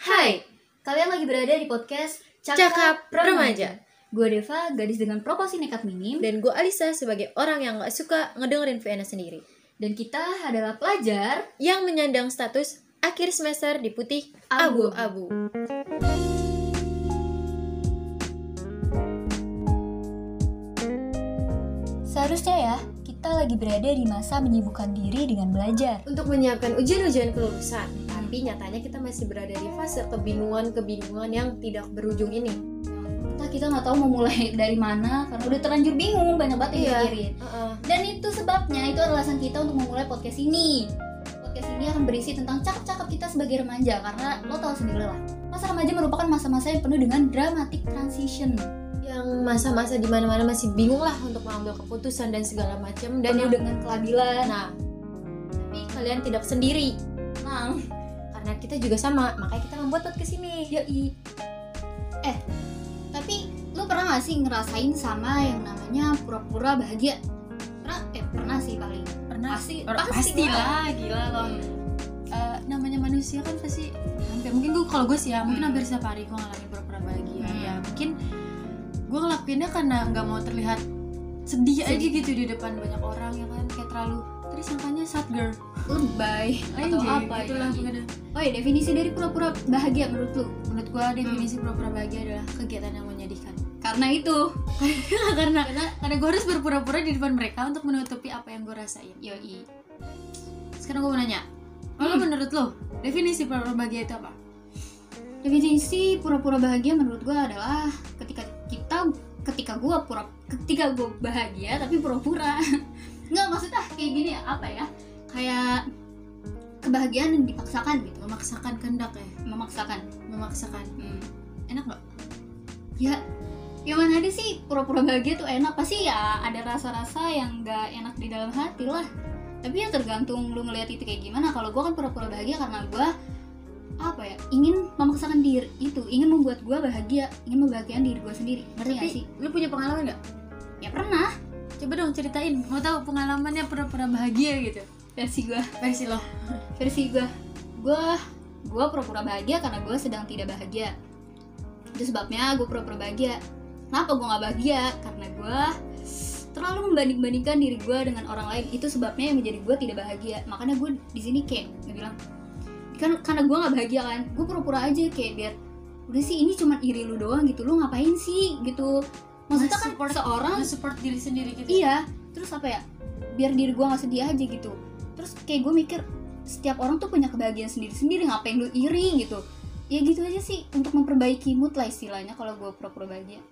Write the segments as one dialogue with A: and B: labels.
A: Hai, kalian lagi berada di podcast
B: Cakap Remaja.
A: Gue Deva, gadis dengan proporsi nekat minim
B: Dan gue Alisa sebagai orang yang gak suka ngedengerin Vienna sendiri
A: dan kita adalah pelajar.
B: Yang menyandang status akhir semester di putih
A: Abu-abu.
B: abu-abu
A: Seharusnya ya, kita lagi berada di masa menyibukkan diri dengan belajar.
B: Untuk menyiapkan ujian-ujian kelulusan Tapi nyatanya kita masih berada di fase kebingungan-kebingungan yang tidak berujung ini
A: Entah nah, kita nggak tahu mau mulai dari mana karena udah terlanjur bingung banyak banget yang
B: Iya.
A: dipikirin. Dan itu sebabnya itu adalah alasan kita untuk memulai podcast ini. Podcast ini akan berisi tentang cakap-cakap kita sebagai remaja karena lo tau sendiri lah. Masa remaja merupakan masa-masa yang penuh dengan dramatic transition.
B: Yang masa-masa dimana-mana masih bingung lah untuk mengambil keputusan dan segala macam Dan
A: Dan
B: yang
A: dengan kelabilan,
B: Nah, tapi kalian tidak sendiri
A: tenang.
B: Karena kita juga sama, makanya kita membuat podcast ini
A: Yoi. Eh, tapi lu pernah gak sih ngerasain sama yang namanya pura-pura bahagia? Pernah? Eh, pernah sih paling.
C: pernah
A: Pasti,
C: Or-
A: pasti, lah.
C: pastilah gila loh Eh, namanya manusia kan pasti hampir mungkin gue kalau gue sih ya mungkin
A: Hmm.
C: hampir setiap hari gue ngalamin pura-pura bahagia
A: Hmm.
C: ya mungkin gue ngelakuinnya karena nggak mau terlihat sedih, aja
A: Sedih.
C: gitu di depan banyak orang yang kan kayak terlalu terus sangkanya sad girl
A: Lebay atau
C: Anjing,
A: apa
C: gitu
A: ya?
C: lah pokoknya.
A: Oh ya, definisi dari pura-pura bahagia menurut lu?
C: menurut gue
A: Hmm.
C: definisi pura-pura bahagia adalah kegiatan yang menyedihkan
A: Karena itu.
C: karena karena gue harus berpura-pura di depan mereka untuk menutupi apa yang gue rasain yoi sekarang gue mau nanya kalau
A: Hmm.
C: menurut lo definisi pura-pura bahagia itu apa
A: Definisi pura-pura bahagia menurut gua adalah ketika kita ketika gua pura ketika gua bahagia tapi pura-pura. Nggak maksudnya kayak gini ya, apa ya? Kayak kebahagiaan yang dipaksakan gitu,
C: memaksakan kehendak ya
A: memaksakan.
C: memaksakan
A: Hmm.
C: enak nggak
A: ya yang mana ada sih pura-pura bahagia tuh enak pasti ya ada rasa-rasa yang nggak enak di dalam hati lah tapi ya tergantung lu ngelihat itu kayak gimana kalau gua kan pura-pura bahagia karena gua apa ya ingin memaksakan diri itu ingin membuat gua bahagia ingin membahagiakan diri gua sendiri ngerti
C: tapi
A: gak Iya sih
C: lu punya pengalaman nggak
A: ya pernah
C: coba dong ceritain mau tahu pengalamannya pura-pura bahagia gitu
A: versi gua
C: versi lo
A: versi gua gua gua pura-pura bahagia karena gua sedang tidak bahagia itu sebabnya gua pura-pura bahagia kenapa gua nggak bahagia karena gua terlalu membanding-bandingkan diri gua dengan orang lain itu sebabnya yang menjadi gua tidak bahagia makanya gua di sini kayak gua bilang kan karena gua nggak bahagia kan gua pura-pura aja kayak biar udah sih ini cuma iri lu doang gitu lu ngapain sih gitu maksudnya kan
C: Support-
A: seorang
C: lu support diri sendiri gitu
A: iya terus apa ya biar diri gue nggak sedih aja gitu terus kayak gue mikir setiap orang tuh punya kebahagiaan sendiri-sendiri ngapain lu iri gitu ya gitu aja sih untuk memperbaiki mood lah istilahnya kalau gue pura-pura bahagia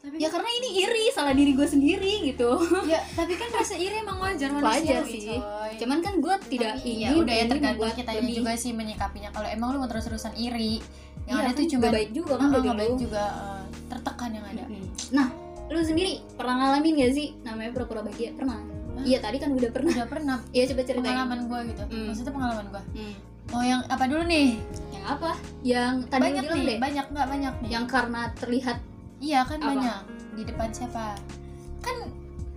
C: tapi
A: ya karena ini iri salah diri gue sendiri gitu
C: ya, tapi kan rasa iri emang wajar
A: Wajar
C: manusia
A: sih.
C: cuman
A: cuman kan gue tidak
C: tidak
A: ingin
C: iya udah ya
A: ingin
C: tergantung
A: membuat
C: kita
A: lebih-
C: juga sih menyikapinya kalau emang lu mau terus-terusan iri yang
A: Iya,
C: ada
A: kan
C: tuh
A: nggak
C: cuma ah,
A: baik juga kan bagi
C: baik
A: lu.
C: juga eh, tertekan yang ada
A: Mm-mm. nah lu sendiri pernah ngalamin gak sih namanya pura-pura bahagia pernah
C: Hah?
A: iya tadi kan udah pernah
C: udah pernah
A: iya coba ceritain
C: pengalaman gue gitu
A: Hmm.
C: maksudnya pengalaman gue
A: Hmm.
C: mau yang apa dulu nih
A: yang apa yang tadi lu
C: banyak
A: bilang
C: nih
A: deh
C: banyak nggak banyak nih
A: yang karena terlihat
C: Iya kan
A: Apa?
C: banyak di depan siapa? Kan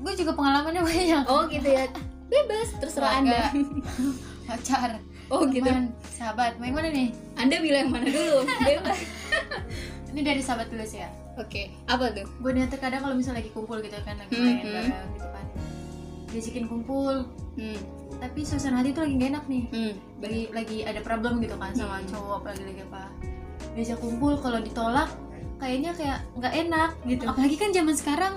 C: gue juga pengalamannya banyak.
A: Oh gitu ya. Bebas, terserah Anda.
C: Keluarga, Pacar,
A: Oh gitu.
C: teman, sahabat. Mau yang mana nih?
A: Anda bilang yang mana dulu? Bebas.
C: Ini dari sahabat dulu sih ya.
A: Oke, apa tuh?
C: Gue nih terkadang kalau misalnya lagi kumpul gitu kan lagi
A: Mhm.
C: main bareng gitu kan. Diajakin kumpul,
A: Hmm,
C: tapi suasana hati tuh lagi gak enak nih.
A: hmm,
C: Lagi lagi ada problem gitu kan sama
A: Mhm.
C: cowok apa lagi apa. Diajak kumpul kalau ditolak kayaknya kayak nggak enak gitu. Apalagi kan zaman sekarang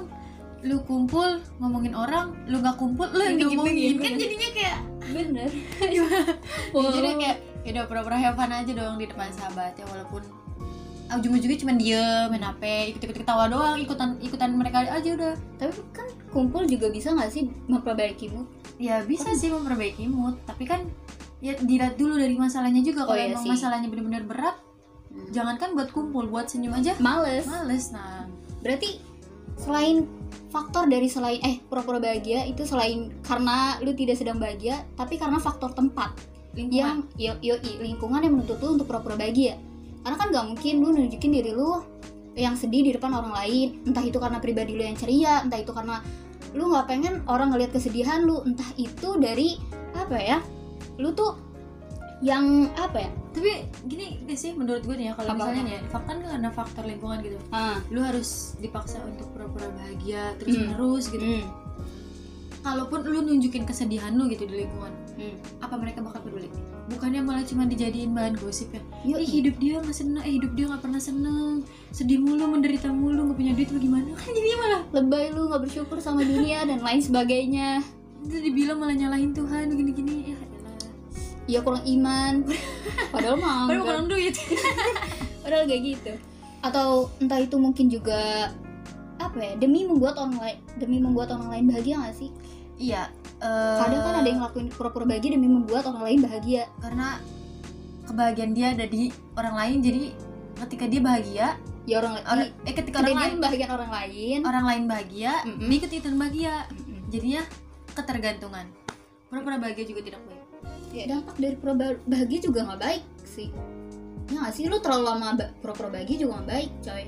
C: lu kumpul ngomongin orang, lu nggak kumpul lu yang
A: Dibegin-begin,
C: ngomongin kan
A: bener.
C: jadinya kayak
A: bener.
C: Ya, jadi kayak ya udah pura-pura have fun aja dong di depan sahabat ya walaupun ah, ujung-ujungnya cuma diem main HP ikut-ikut ketawa doang ikutan ikutan mereka aja udah
A: tapi kan kumpul juga bisa nggak sih memperbaiki mood?
C: ya bisa sih memperbaiki mood tapi kan ya dilihat dulu dari masalahnya juga
A: Oh,
C: kalau
A: iya
C: emang
A: sih.
C: masalahnya bener-bener berat
A: Hmm.
C: jangankan buat kumpul buat senyum aja
A: Males.
C: males nah
A: Berarti selain faktor dari selain eh pura-pura bahagia itu selain karena lu tidak sedang bahagia, tapi karena faktor tempat.
C: lingkungan
A: yang yo, yoi, lingkungan yang menuntut lu untuk pura-pura bahagia karena kan nggak mungkin lu nunjukin diri lu yang sedih di depan orang lain entah itu karena pribadi lu yang ceria entah itu karena lu nggak pengen orang ngelihat kesedihan lu entah itu dari apa ya lu tuh yang apa ya
C: tapi gini gak sih menurut gue nih ya kalau
A: Apa-apa?
C: misalnya nih ya, faktor kan karena faktor lingkungan gitu
A: Ah,
C: lu harus dipaksa untuk pura-pura bahagia terus
A: Hmm.
C: menerus gitu
A: hmm,
C: kalaupun lu nunjukin kesedihan lu gitu di lingkungan
A: hmm.
C: apa mereka bakal peduli bukannya malah cuma dijadiin bahan gosip ya
A: Yuk,
C: Ih, hidup dia nggak seneng eh hidup dia nggak pernah seneng sedih mulu menderita mulu nggak punya duit lu gimana kan jadi malah
A: lebay lu nggak bersyukur sama dunia dan lain sebagainya
C: jadi dibilang malah nyalahin Tuhan gini-gini ya elah.
A: ya kurang iman padahal mah
C: padahal
A: enggak.
C: kurang duit
A: padahal kayak gitu atau entah itu mungkin juga apa ya demi membuat orang lain demi membuat orang lain bahagia gak sih
C: iya
A: kadang kan ada yang ngelakuin pura-pura bahagia demi membuat orang lain bahagia
C: karena kebahagiaan dia ada di orang lain jadi ketika dia bahagia
A: ya orang lain
C: orang eh ketika
A: orang Ah.
C: orang
A: dia
C: lain
A: membahagiakan orang lain
C: orang lain bahagia
A: Mm-mm.
C: dia ikut-ikutan bahagia
A: Mm-mm.
C: jadinya ketergantungan pura-pura bahagia juga tidak baik
A: ya dampak dari pura ba- bahagia juga nggak baik sih ya nggak sih lu terlalu lama ba- pura-pura bahagia juga nggak baik coy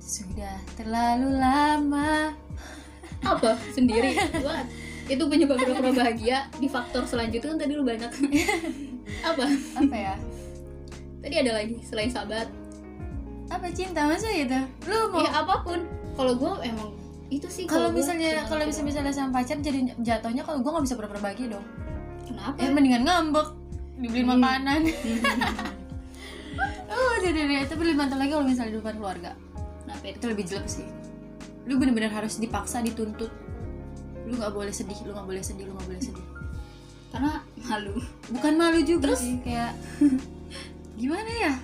C: sudah terlalu lama
A: apa sendiri What? itu penyebab pura-pura bahagia di faktor selanjutnya kan tadi lu banyak apa
C: apa ya
A: tadi ada lagi selain sahabat
C: apa cinta masa itu lu mau
A: ya apapun kalau gue emang itu sih
C: kalau
A: gua
C: misalnya
A: cuman-
C: kalau bisa misalnya sama pacar jadi jatuhnya kalau gue nggak bisa pura-pura bahagia dong
A: kenapa
C: ya mendingan ngambek dibeliin
A: Hmm.
C: makanan oh tidak tidak tapi lebih mantap lagi kalau misalnya di depan keluarga
A: kenapa itu
C: itu lebih jelek sih lu bener-bener harus dipaksa dituntut lu nggak boleh sedih lu nggak boleh sedih lu nggak boleh sedih
A: karena malu
C: bukan malu juga sih kayak gimana ya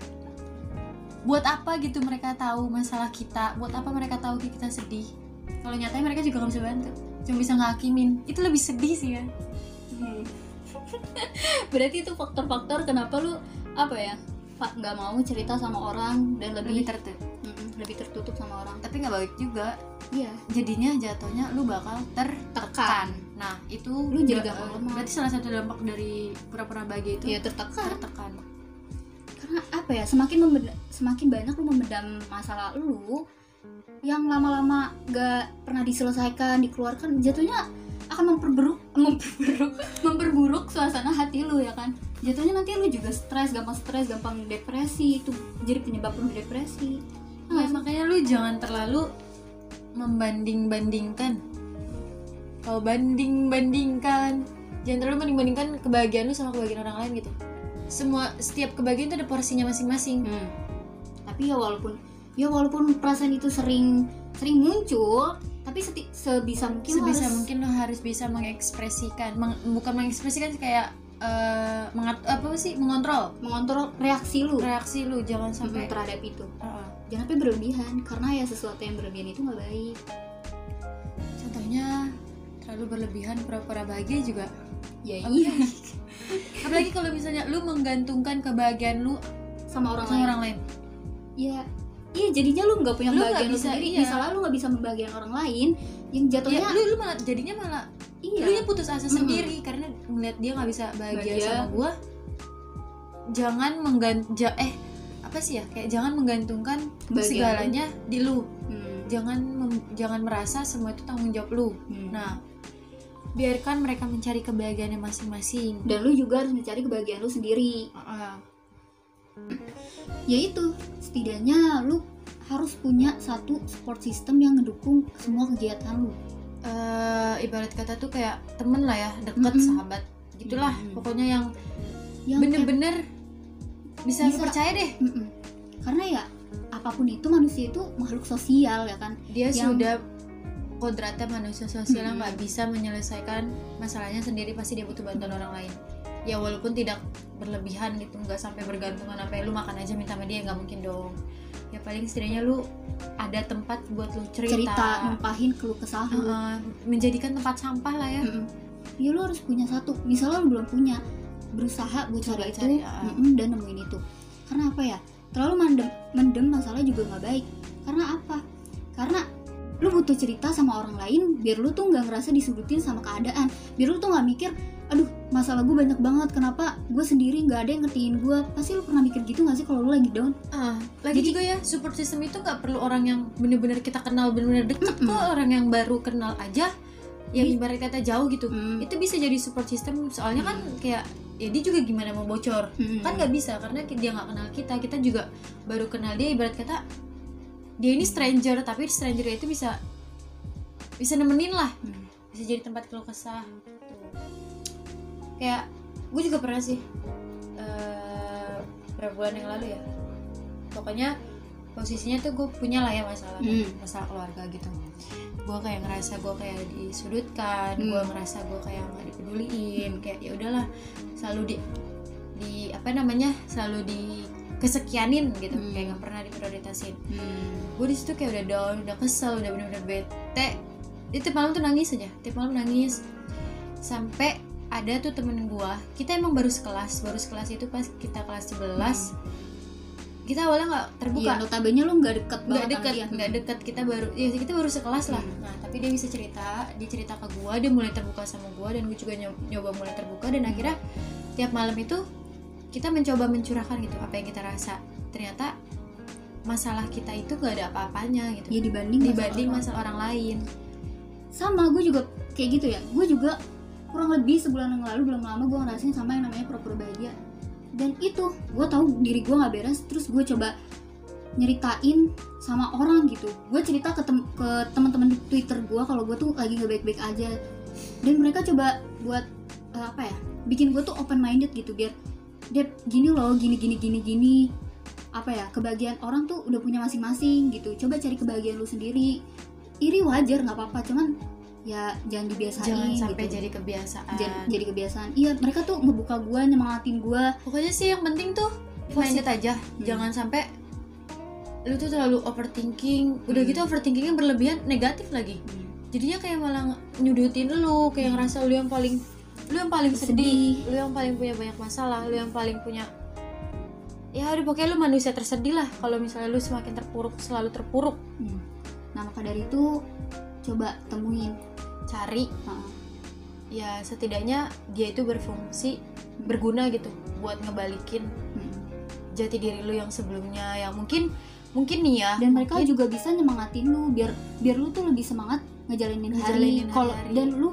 C: buat apa gitu mereka tahu masalah kita buat apa mereka tahu kita sedih kalau nyatanya mereka juga nggak bisa bantu cuma bisa ngakimin itu lebih sedih sih ya
A: berarti itu faktor-faktor kenapa lu apa ya Pak nggak mau cerita sama orang dan lebih
C: lebih tertutup
A: Mm-mm, lebih tertutup sama orang
C: tapi nggak baik juga
A: iya
C: jadinya jatuhnya lu bakal tertekan nah itu
A: Lu jadi
C: nggak- eh,
A: gampang lemah.
C: berarti salah satu dampak dari pura-pura bahagia itu
A: iya tertekan
C: tertekan
A: karena apa ya semakin memben- semakin banyak lu memendam masalah lu yang lama-lama gak pernah diselesaikan dikeluarkan jatuhnya akan memperburuk memperburuk memperburuk suasana hati lu ya kan jatuhnya nanti lu juga stres gampang stres gampang depresi itu jadi penyebab lu depresi Iya
C: Nah, makanya lu jangan terlalu membanding-bandingkan. Kalau banding-bandingkan, jangan terlalu banding-bandingkan kebahagiaan lu sama kebahagiaan orang lain gitu. Semua setiap kebahagiaan itu ada porsinya masing-masing.
A: Hmm. Tapi ya walaupun ya walaupun perasaan itu sering sering muncul, tapi seti- sebisa mungkin lo
C: Sebisa
A: harus
C: mungkin lu harus bisa mengekspresikan, meng- bukan mengekspresikan sih, kayak eh, mengat apa sih mengontrol
A: mengontrol reaksi lu
C: reaksi lu jangan
A: sampai
C: sampai
A: terhadap itu.
C: Uh-uh.
A: Jangan sampai berlebihan karena ya sesuatu yang berlebihan itu nggak baik.
C: contohnya terlalu berlebihan pura-pura bahagia juga
A: Ya
C: Apa
A: iya
C: apalagi kalau misalnya lu menggantungkan kebahagiaan lu
A: sama orang
C: sama
A: lain.
C: orang lain
A: Ya iya jadinya lu nggak punya
C: Lu nggak
A: kebahagiaan lu
C: bisa,
A: sendiri.
C: iya.
A: Misalnya lu nggak bisa membahagiakan orang lain, yang jatuhnya
C: ya, lu, lu malah jadinya malah
A: iya.
C: lu ya putus asa
A: Mm-mm.
C: sendiri karena melihat dia nggak bisa bahagia,
A: Bahagia.
C: sama gua jangan mengganja eh apa sih ya kayak jangan menggantungkan
A: Bahagia
C: segalanya di lu
A: Hmm,
C: jangan mem- jangan merasa semua itu tanggung jawab lu
A: hmm.
C: nah biarkan mereka mencari kebahagiaannya masing-masing
A: dan lu juga harus mencari kebahagiaan lu sendiri.
C: Uh-uh.
A: yaitu setidaknya lu harus punya satu support system yang ngedukung semua kegiatan lu
C: Eh, ibarat kata tuh kayak temen lah ya deket
A: Mm-mm.
C: sahabat gitulah
A: Mm-mm.
C: pokoknya yang
A: Hmm. yang Iya,
C: bener-bener bisa,
A: Bisa.
C: lu percaya deh
A: Mm-mm. karena ya apapun itu manusia itu makhluk sosial ya kan
C: dia
A: Yang-
C: sudah kodratnya manusia sosial yang
A: Mm-mm.
C: nggak bisa menyelesaikan masalahnya sendiri pasti dia butuh bantuan orang lain ya walaupun tidak berlebihan gitu nggak sampai bergantungan sampai lu makan aja minta sama dia nggak mungkin dong ya paling setidaknya lu ada tempat buat lu cerita,
A: cerita numpahin keluh kesah lu
C: Heeh, menjadikan tempat sampah lah ya
A: Mm-mm. ya lu harus punya satu misalnya lu belum punya berusaha buat
C: Coba
A: cari itu
C: cari, ah.
A: mm-mm, dan nemuin itu karena apa ya terlalu mendem mendem masalah juga nggak baik karena apa karena lu butuh cerita sama orang lain biar lu tuh nggak ngerasa disudutin sama keadaan biar lu tuh nggak mikir aduh masalah gue banyak banget kenapa gue sendiri nggak ada yang ngertiin gue pasti lu pernah mikir gitu nggak sih kalau lu lagi down
C: Ah, lagi
A: Jadi-
C: juga ya support system itu nggak perlu orang yang bener-bener kita kenal bener-bener deket
A: Mm-mm.
C: kok orang yang baru kenal aja yang
A: Bi-
C: ibarat kata jauh gitu
A: Hmm,
C: itu bisa jadi support system soalnya kan kayak ya dia juga gimana mau bocor
A: Mm-mm.
C: kan nggak bisa karena ki- dia nggak kenal kita kita juga baru kenal dia ibarat kata dia ini stranger tapi stranger itu bisa bisa nemenin lah
A: Mm.
C: bisa jadi tempat keluh kesah kayak gue juga pernah sih eh, berapa bulan yang lalu ya pokoknya posisinya tuh gue punya lah ya masalah
A: Hmm.
C: masalah keluarga gitu gue kayak ngerasa gue kayak disudutkan
A: Hmm.
C: gue ngerasa gue kayak nggak dipeduliin kayak ya udahlah selalu di di apa namanya selalu di kesekianin gitu
A: Hmm.
C: kayak nggak pernah diprioritasin
A: Hmm.
C: gue disitu kayak udah down udah kesel udah bener-bener bete dia tiap malam tuh nangis aja tiap malam nangis sampai ada tuh temen gue kita emang baru sekelas baru sekelas itu pas kita kelas 11 kita awalnya nggak terbuka
A: Hmm. Iya, notabene lu nggak deket banget
C: nggak dekat nggak dekat kita baru ya kita baru sekelas lah
A: Hmm.
C: nah tapi dia bisa cerita dia cerita ke gue dia mulai terbuka sama gue dan gue juga nyob- nyoba mulai terbuka
A: Hmm.
C: dan akhirnya tiap malam itu kita mencoba mencurahkan gitu apa yang kita rasa ternyata masalah kita itu gak ada apa-apanya
A: ya
C: gitu
A: dibanding
C: dibanding masalah orang lain
A: sama gue juga kayak gitu ya gue juga kurang lebih sebulan yang lalu belum lama gue ngerasain sama yang namanya pura-pura bahagia dan itu gue tahu diri gue nggak beres terus gue coba nyeritain sama orang gitu gue cerita ke, tem- ke teman-teman di twitter gue kalau gue tuh lagi nggak baik-baik aja dan mereka coba buat eh, apa ya bikin gue tuh open minded gitu biar dia gini loh gini gini gini gini apa ya kebahagiaan orang tuh udah punya masing-masing gitu coba cari kebahagiaan lu sendiri iri wajar nggak apa-apa cuman ya jangan dibiasain
C: jangan sampai
A: gitu.
C: jadi kebiasaan
A: Jan- jadi iya. kebiasaan iya mereka tuh ngebuka gue nyemangatin gue
C: pokoknya sih yang penting tuh minded aja
A: Hmm.
C: jangan sampai lu tuh terlalu overthinking udah
A: Hmm.
C: gitu overthinkingnya berlebihan negatif lagi jadinya kayak malah nyudutin
A: Hmm.
C: lu kayak ngerasa lu yang paling lu yang paling sedih, lu yang paling punya banyak masalah lu yang paling punya ya udah pokoknya lu manusia tersedih lah kalau misalnya lu semakin terpuruk selalu terpuruk
A: Hmm. nah maka dari itu coba temuin Ah,
C: cari
A: Heeh.
C: ya setidaknya dia itu berfungsi berguna gitu buat ngebalikin
A: Hmm.
C: jati diri lu yang sebelumnya yang mungkin mungkin nih ya
A: dan mereka
C: mungkin-
A: juga bisa nyemangatin lu biar biar lu tuh lebih semangat ngejalanin hari
C: Ngejalanin
A: kalau
C: hari-hari.
A: dan lu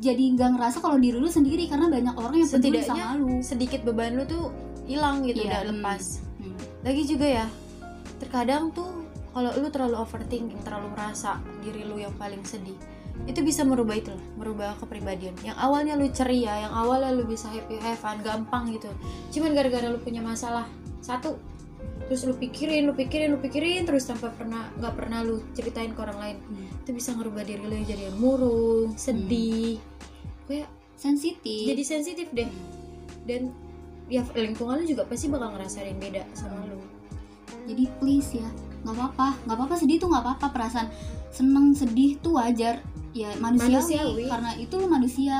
A: jadi nggak ngerasa kalau diri lu sendiri karena banyak orang yang peduli
C: Setidaknya-
A: sama lu
C: sedikit beban lu tuh hilang gitu
A: Iya,
C: udah
A: hmm.
C: lepas
A: Hmm.
C: lagi juga ya terkadang tuh kalau lu terlalu overthinking terlalu merasa diri lu yang paling sedih itu bisa merubah itu lah, merubah kepribadian yang awalnya lu ceria yang awalnya lu bisa happy have fun gampang gitu cuman gara-gara lu punya masalah satu terus lu pikirin lu pikirin lu pikirin terus tanpa pernah nggak pernah lu ceritain ke orang lain
A: Hmm.
C: itu bisa ngerubah diri lu yang jadi yang murung sedih kayak
A: sensitif
C: jadi sensitif deh dan ya lingkungan lu juga pasti bakal ngerasain beda sama lu
A: jadi please ya nggak apa-apa nggak apa-apa sedih tuh nggak apa-apa perasaan seneng sedih tuh wajar ya manusiawi,
C: Manusiawi.
A: karena itu lu manusia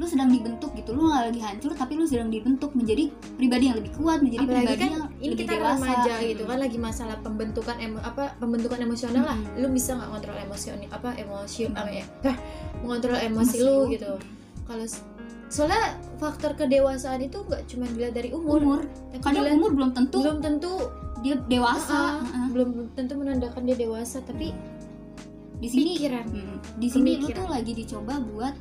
A: lu sedang dibentuk gitu lu nggak lagi hancur tapi lu sedang dibentuk menjadi pribadi yang lebih kuat menjadi
C: apalagi
A: pribadi
C: kan
A: yang
C: ini
A: lebih
C: kita
A: dewasa Hmm.
C: remaja gitu kan lagi masalah pembentukan emo- apa pembentukan emosional lah
A: Hmm.
C: lu bisa nggak ngontrol emosi apa emosi
A: Hmm.
C: apa ya Hah, mengontrol emosi lu gitu kalau s- soalnya faktor kedewasaan itu nggak cuma dilihat dari umur,
A: umur
C: tapi
A: kadang
C: dilihat-
A: umur belum tentu
C: belum tentu
A: dia dewasa
C: ah,
A: Heeh.
C: belum tentu menandakan dia dewasa tapi
A: Hmm. di sini
C: pikiran
A: Mm, di sini lu
C: Pemikiran.
A: tuh lagi dicoba buat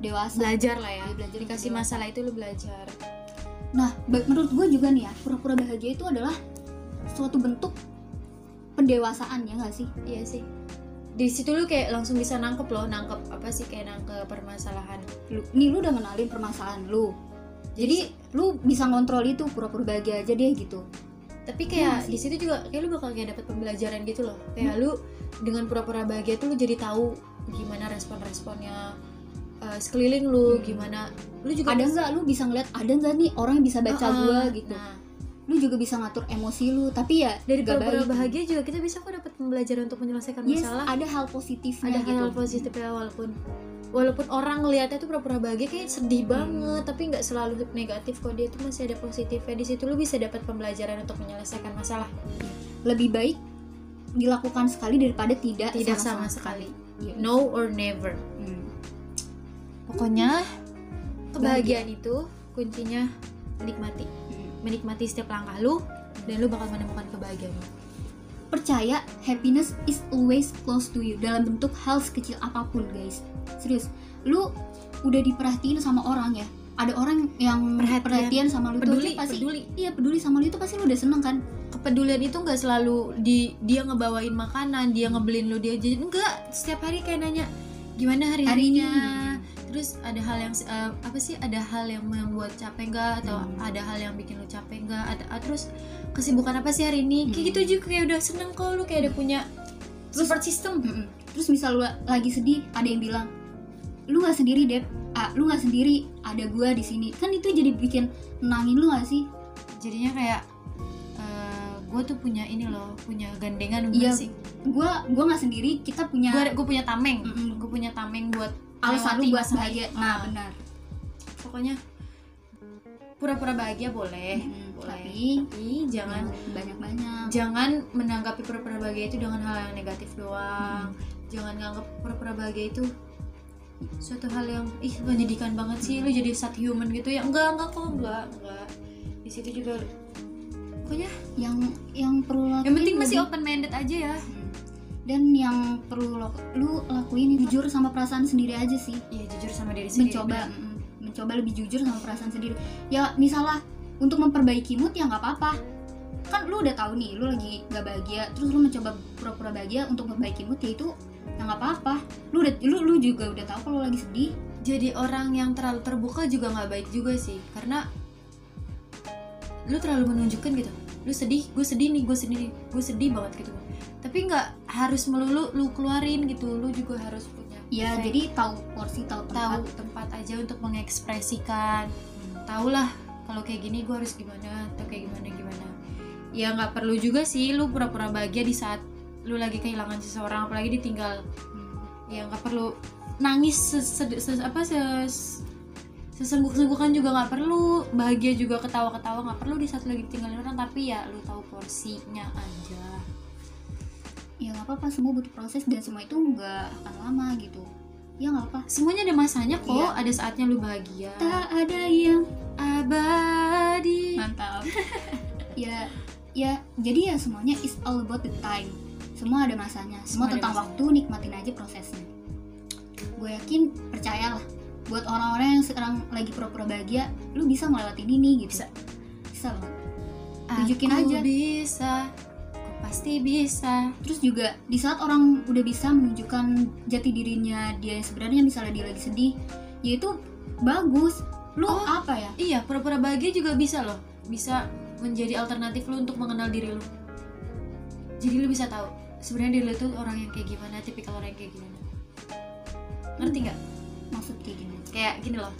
A: dewasa
C: belajar lah ya
A: Lagi belajar
C: dikasih
A: berdewasa.
C: masalah itu lu belajar
A: Nah, ba- menurut gue juga nih ya, pura-pura bahagia itu adalah suatu bentuk pendewasaan ya nggak sih?
C: iya sih di situ lu kayak langsung bisa nangkep loh nangkep apa sih kayak nangkep permasalahan
A: Lu, nih lu udah ngenalin permasalahan lu. Jadi lu bisa ngontrol itu pura-pura bahagia aja deh gitu.
C: tapi
A: Iya
C: kayak
A: sih. Hmm.
C: di situ juga kayak lu bakal kayak dapat pembelajaran gitu loh kayak lu dengan pura-pura bahagia tuh lu jadi tahu gimana respon-responnya eh, sekeliling lu
A: Hmm.
C: gimana lu juga
A: Ada nggak lu bisa ngeliat ada nggak nih orang yang bisa baca
C: Ah,
A: gua gitu.
C: nah,
A: Lu juga bisa ngatur emosi lu, tapi ya
C: dari
A: nggak
C: pura-pura
A: baik.
C: bahagia juga kita bisa kok dapat pembelajaran untuk menyelesaikan
A: Yes,
C: masalah
A: ada hal
C: ada
A: positifnya gitu.
C: hal positifnya walaupun walaupun orang ngelihatnya tuh pura-pura bahagia kayak sedih
A: Hmm.
C: banget tapi nggak selalu negatif kok dia tuh masih ada positifnya di situ lu bisa dapat pembelajaran untuk menyelesaikan masalah
A: Lebih baik dilakukan sekali daripada tidak
C: tidak sama, sekali
A: Iya.
C: no or never
A: Hmm.
C: Pokoknya kebahagiaan itu kuncinya menikmati.
A: Hmm.
C: Menikmati setiap langkah lu dan lu bakal menemukan kebahagiaan. lu.
A: percaya happiness is always close to you dalam bentuk hal sekecil apapun guys serius lu udah diperhatiin sama orang ya ada orang yang perhatian,
B: Perhatian.
A: sama lu
C: Peduli,
A: tuh pasti
C: peduli.
A: iya peduli sama lu itu pasti lu udah seneng kan
C: kepedulian itu nggak selalu di dia ngebawain makanan dia ngebeliin lu dia jadi enggak setiap hari kayak nanya gimana hari harinya terus ada hal yang eh, apa sih ada hal yang membuat capek nggak atau
A: Hmm.
C: ada hal yang bikin lu capek nggak ada ah, terus kesibukan apa sih hari ini
A: Hmm.
C: kayak gitu juga kayak udah seneng kok lu kayak udah punya support system
A: Mm-mm. terus misal lu lagi sedih ada yang bilang lu nggak sendiri Dep Ah, lu nggak sendiri ada gua di sini kan itu jadi bikin nangin lu gak sih
C: jadinya kayak gue tuh punya ini loh punya gandengan
A: Iya.
C: gue sih
A: gua gua nggak sendiri kita punya
C: gue punya tameng
A: Mm-mm.
C: gue punya tameng buat
A: alasan
C: melewati
A: lu buat
C: masalah
A: bahagia
C: itu.
A: nah
C: Ah.
A: benar
C: pokoknya pura-pura bahagia boleh
A: Mm,
C: boleh.
A: tapi
C: tapi jangan
A: banyak banyak
C: jangan menanggapi pura-pura bahagia itu dengan hal yang negatif doang jangan nganggap pura-pura bahagia itu suatu hal yang ih menyedihkan banget sih lu jadi sad human gitu ya enggak enggak kok enggak enggak di situ juga pokoknya
A: yang yang perlu lakuin
C: yang penting masih
A: lebih-
C: open minded aja ya
A: Mm. dan yang perlu lo, lu lakuin itu jujur sama perasaan sendiri aja sih
C: iya jujur sama diri sendiri
A: mencoba mm, mencoba lebih jujur sama perasaan sendiri ya misalnya untuk memperbaiki mood ya nggak apa-apa kan lu udah tahu nih lu lagi gak bahagia terus lu mencoba pura-pura bahagia untuk memperbaiki mood ya itu ya nggak apa-apa lu udah lu, lu juga udah tahu kalau lu lagi sedih
C: jadi orang yang terlalu terbuka juga nggak baik juga sih karena lu terlalu menunjukkan gitu lu sedih gue sedih nih gue sedih nih gue sedih banget gitu tapi nggak harus melulu lu keluarin gitu lu juga harus punya
A: ya
C: kayak
A: jadi tahu porsi tahu
C: tahu
A: tempat
C: tempat aja untuk mengekspresikan tahulah kalau kayak gini gue harus gimana atau kayak gimana gimana ya nggak perlu juga sih lu pura-pura bahagia di saat lu lagi kehilangan seseorang apalagi ditinggal
A: Hmm.
C: ya nggak perlu nangis sesed- ses- apa ses sesengguk-senggukan juga nggak perlu bahagia juga ketawa-ketawa nggak perlu di saat lagi tinggalin orang tapi ya lu tahu porsinya aja
A: ya nggak apa-apa semua butuh proses dan semua itu nggak akan lama gitu ya nggak apa
C: semuanya ada masanya kok
A: Iya.
C: ada saatnya lu bahagia
A: tak ada yang
C: abadi
A: mantap ya ya jadi ya semuanya is all about the time semua ada masanya semua,
C: Semua ada
A: tentang
C: masanya.
A: waktu nikmatin aja prosesnya gue yakin percayalah buat orang-orang yang sekarang lagi pura-pura bahagia lu bisa melewati ini gitu
C: Bisa.
A: bisa banget tunjukin
C: Aku
A: aja.
C: bisa aku pasti bisa
A: terus juga di saat orang udah bisa menunjukkan jati dirinya dia yang sebenarnya misalnya dia lagi sedih yaitu bagus lu
C: Oh.
A: apa ya
C: iya pura-pura bahagia juga bisa loh bisa menjadi alternatif lu untuk mengenal diri lu jadi lu bisa tahu sebenarnya diri lu tuh orang yang kayak gimana tipikal orang yang kayak gimana ngerti nggak
A: maksud kayak gimana
C: kayak gini loh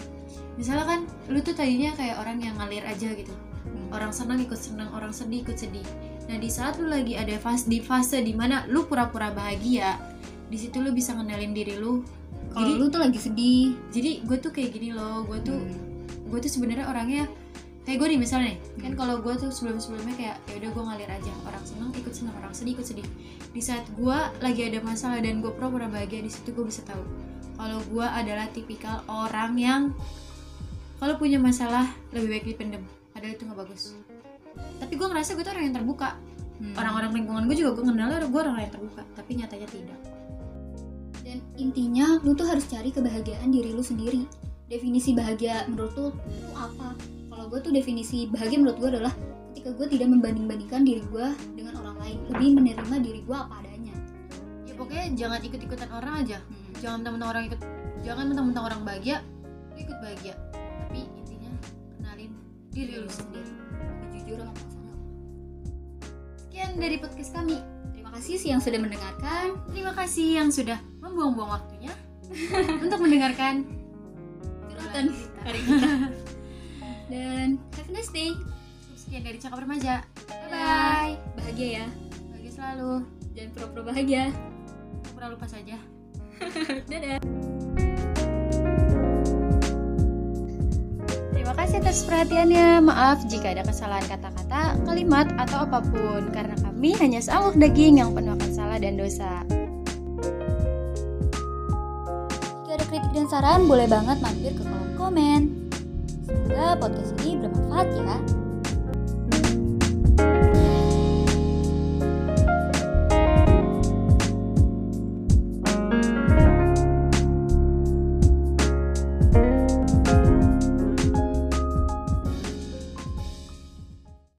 C: misalnya kan lu tuh tadinya kayak orang yang ngalir aja gitu
A: Hmm.
C: orang senang ikut senang orang sedih ikut sedih nah di saat lu lagi ada fase di fase dimana lu pura-pura bahagia di situ lu bisa ngenalin diri lu
A: kalau
C: jadi
A: lu tuh lagi sedih
C: jadi gue tuh kayak gini loh gue tuh
A: Hmm.
C: gue tuh sebenarnya orangnya kayak gue nih misalnya nih kan kalau gue tuh sebelum sebelumnya kayak ya udah gue ngalir aja orang seneng ikut seneng orang sedih ikut sedih di saat gue lagi ada masalah dan gue pura-pura bahagia di situ gue bisa tahu kalau gue adalah tipikal orang yang kalau punya masalah lebih baik dipendem padahal itu nggak bagus tapi gue ngerasa gue tuh orang yang terbuka
A: Hmm.
C: orang-orang lingkungan gue juga gue kenal gue orang yang terbuka tapi nyatanya tidak
A: Dan intinya lu tuh harus cari kebahagiaan diri lu sendiri. Definisi bahagia menurut lu itu apa? Kalau gue tuh definisi bahagia menurut gue adalah ketika gue tidak membanding-bandingkan diri gue dengan orang lain, lebih menerima diri gue apa adanya. Hmm.
C: ya pokoknya jangan ikut-ikutan orang aja jangan mentang-mentang orang ikut jangan mentang-mentang orang bahagia lu ikut bahagia tapi intinya kenalin diri lu sendiri
A: Jujur sama pasangan.
C: sekian dari podcast kami
A: Terima kasih sih yang sudah mendengarkan.
C: terima kasih yang sudah membuang-buang waktunya untuk mendengarkan
A: Curhatan dari kita. Dan have a nice day.
C: sekian dari cakap remaja
A: Bye
C: bye
A: bye. Bahagia ya.
C: bahagia selalu
A: Jangan pura-pura bahagia.
C: pura lupa saja
A: Dadah.
B: Terima kasih atas perhatiannya. Maaf jika ada kesalahan kata-kata, kalimat, atau apapun. Karena kami hanya seamuk daging yang penuh akan salah dan dosa.
A: Jika ada kritik dan saran, boleh banget mampir ke kolom komen. Semoga podcast ini bermanfaat ya.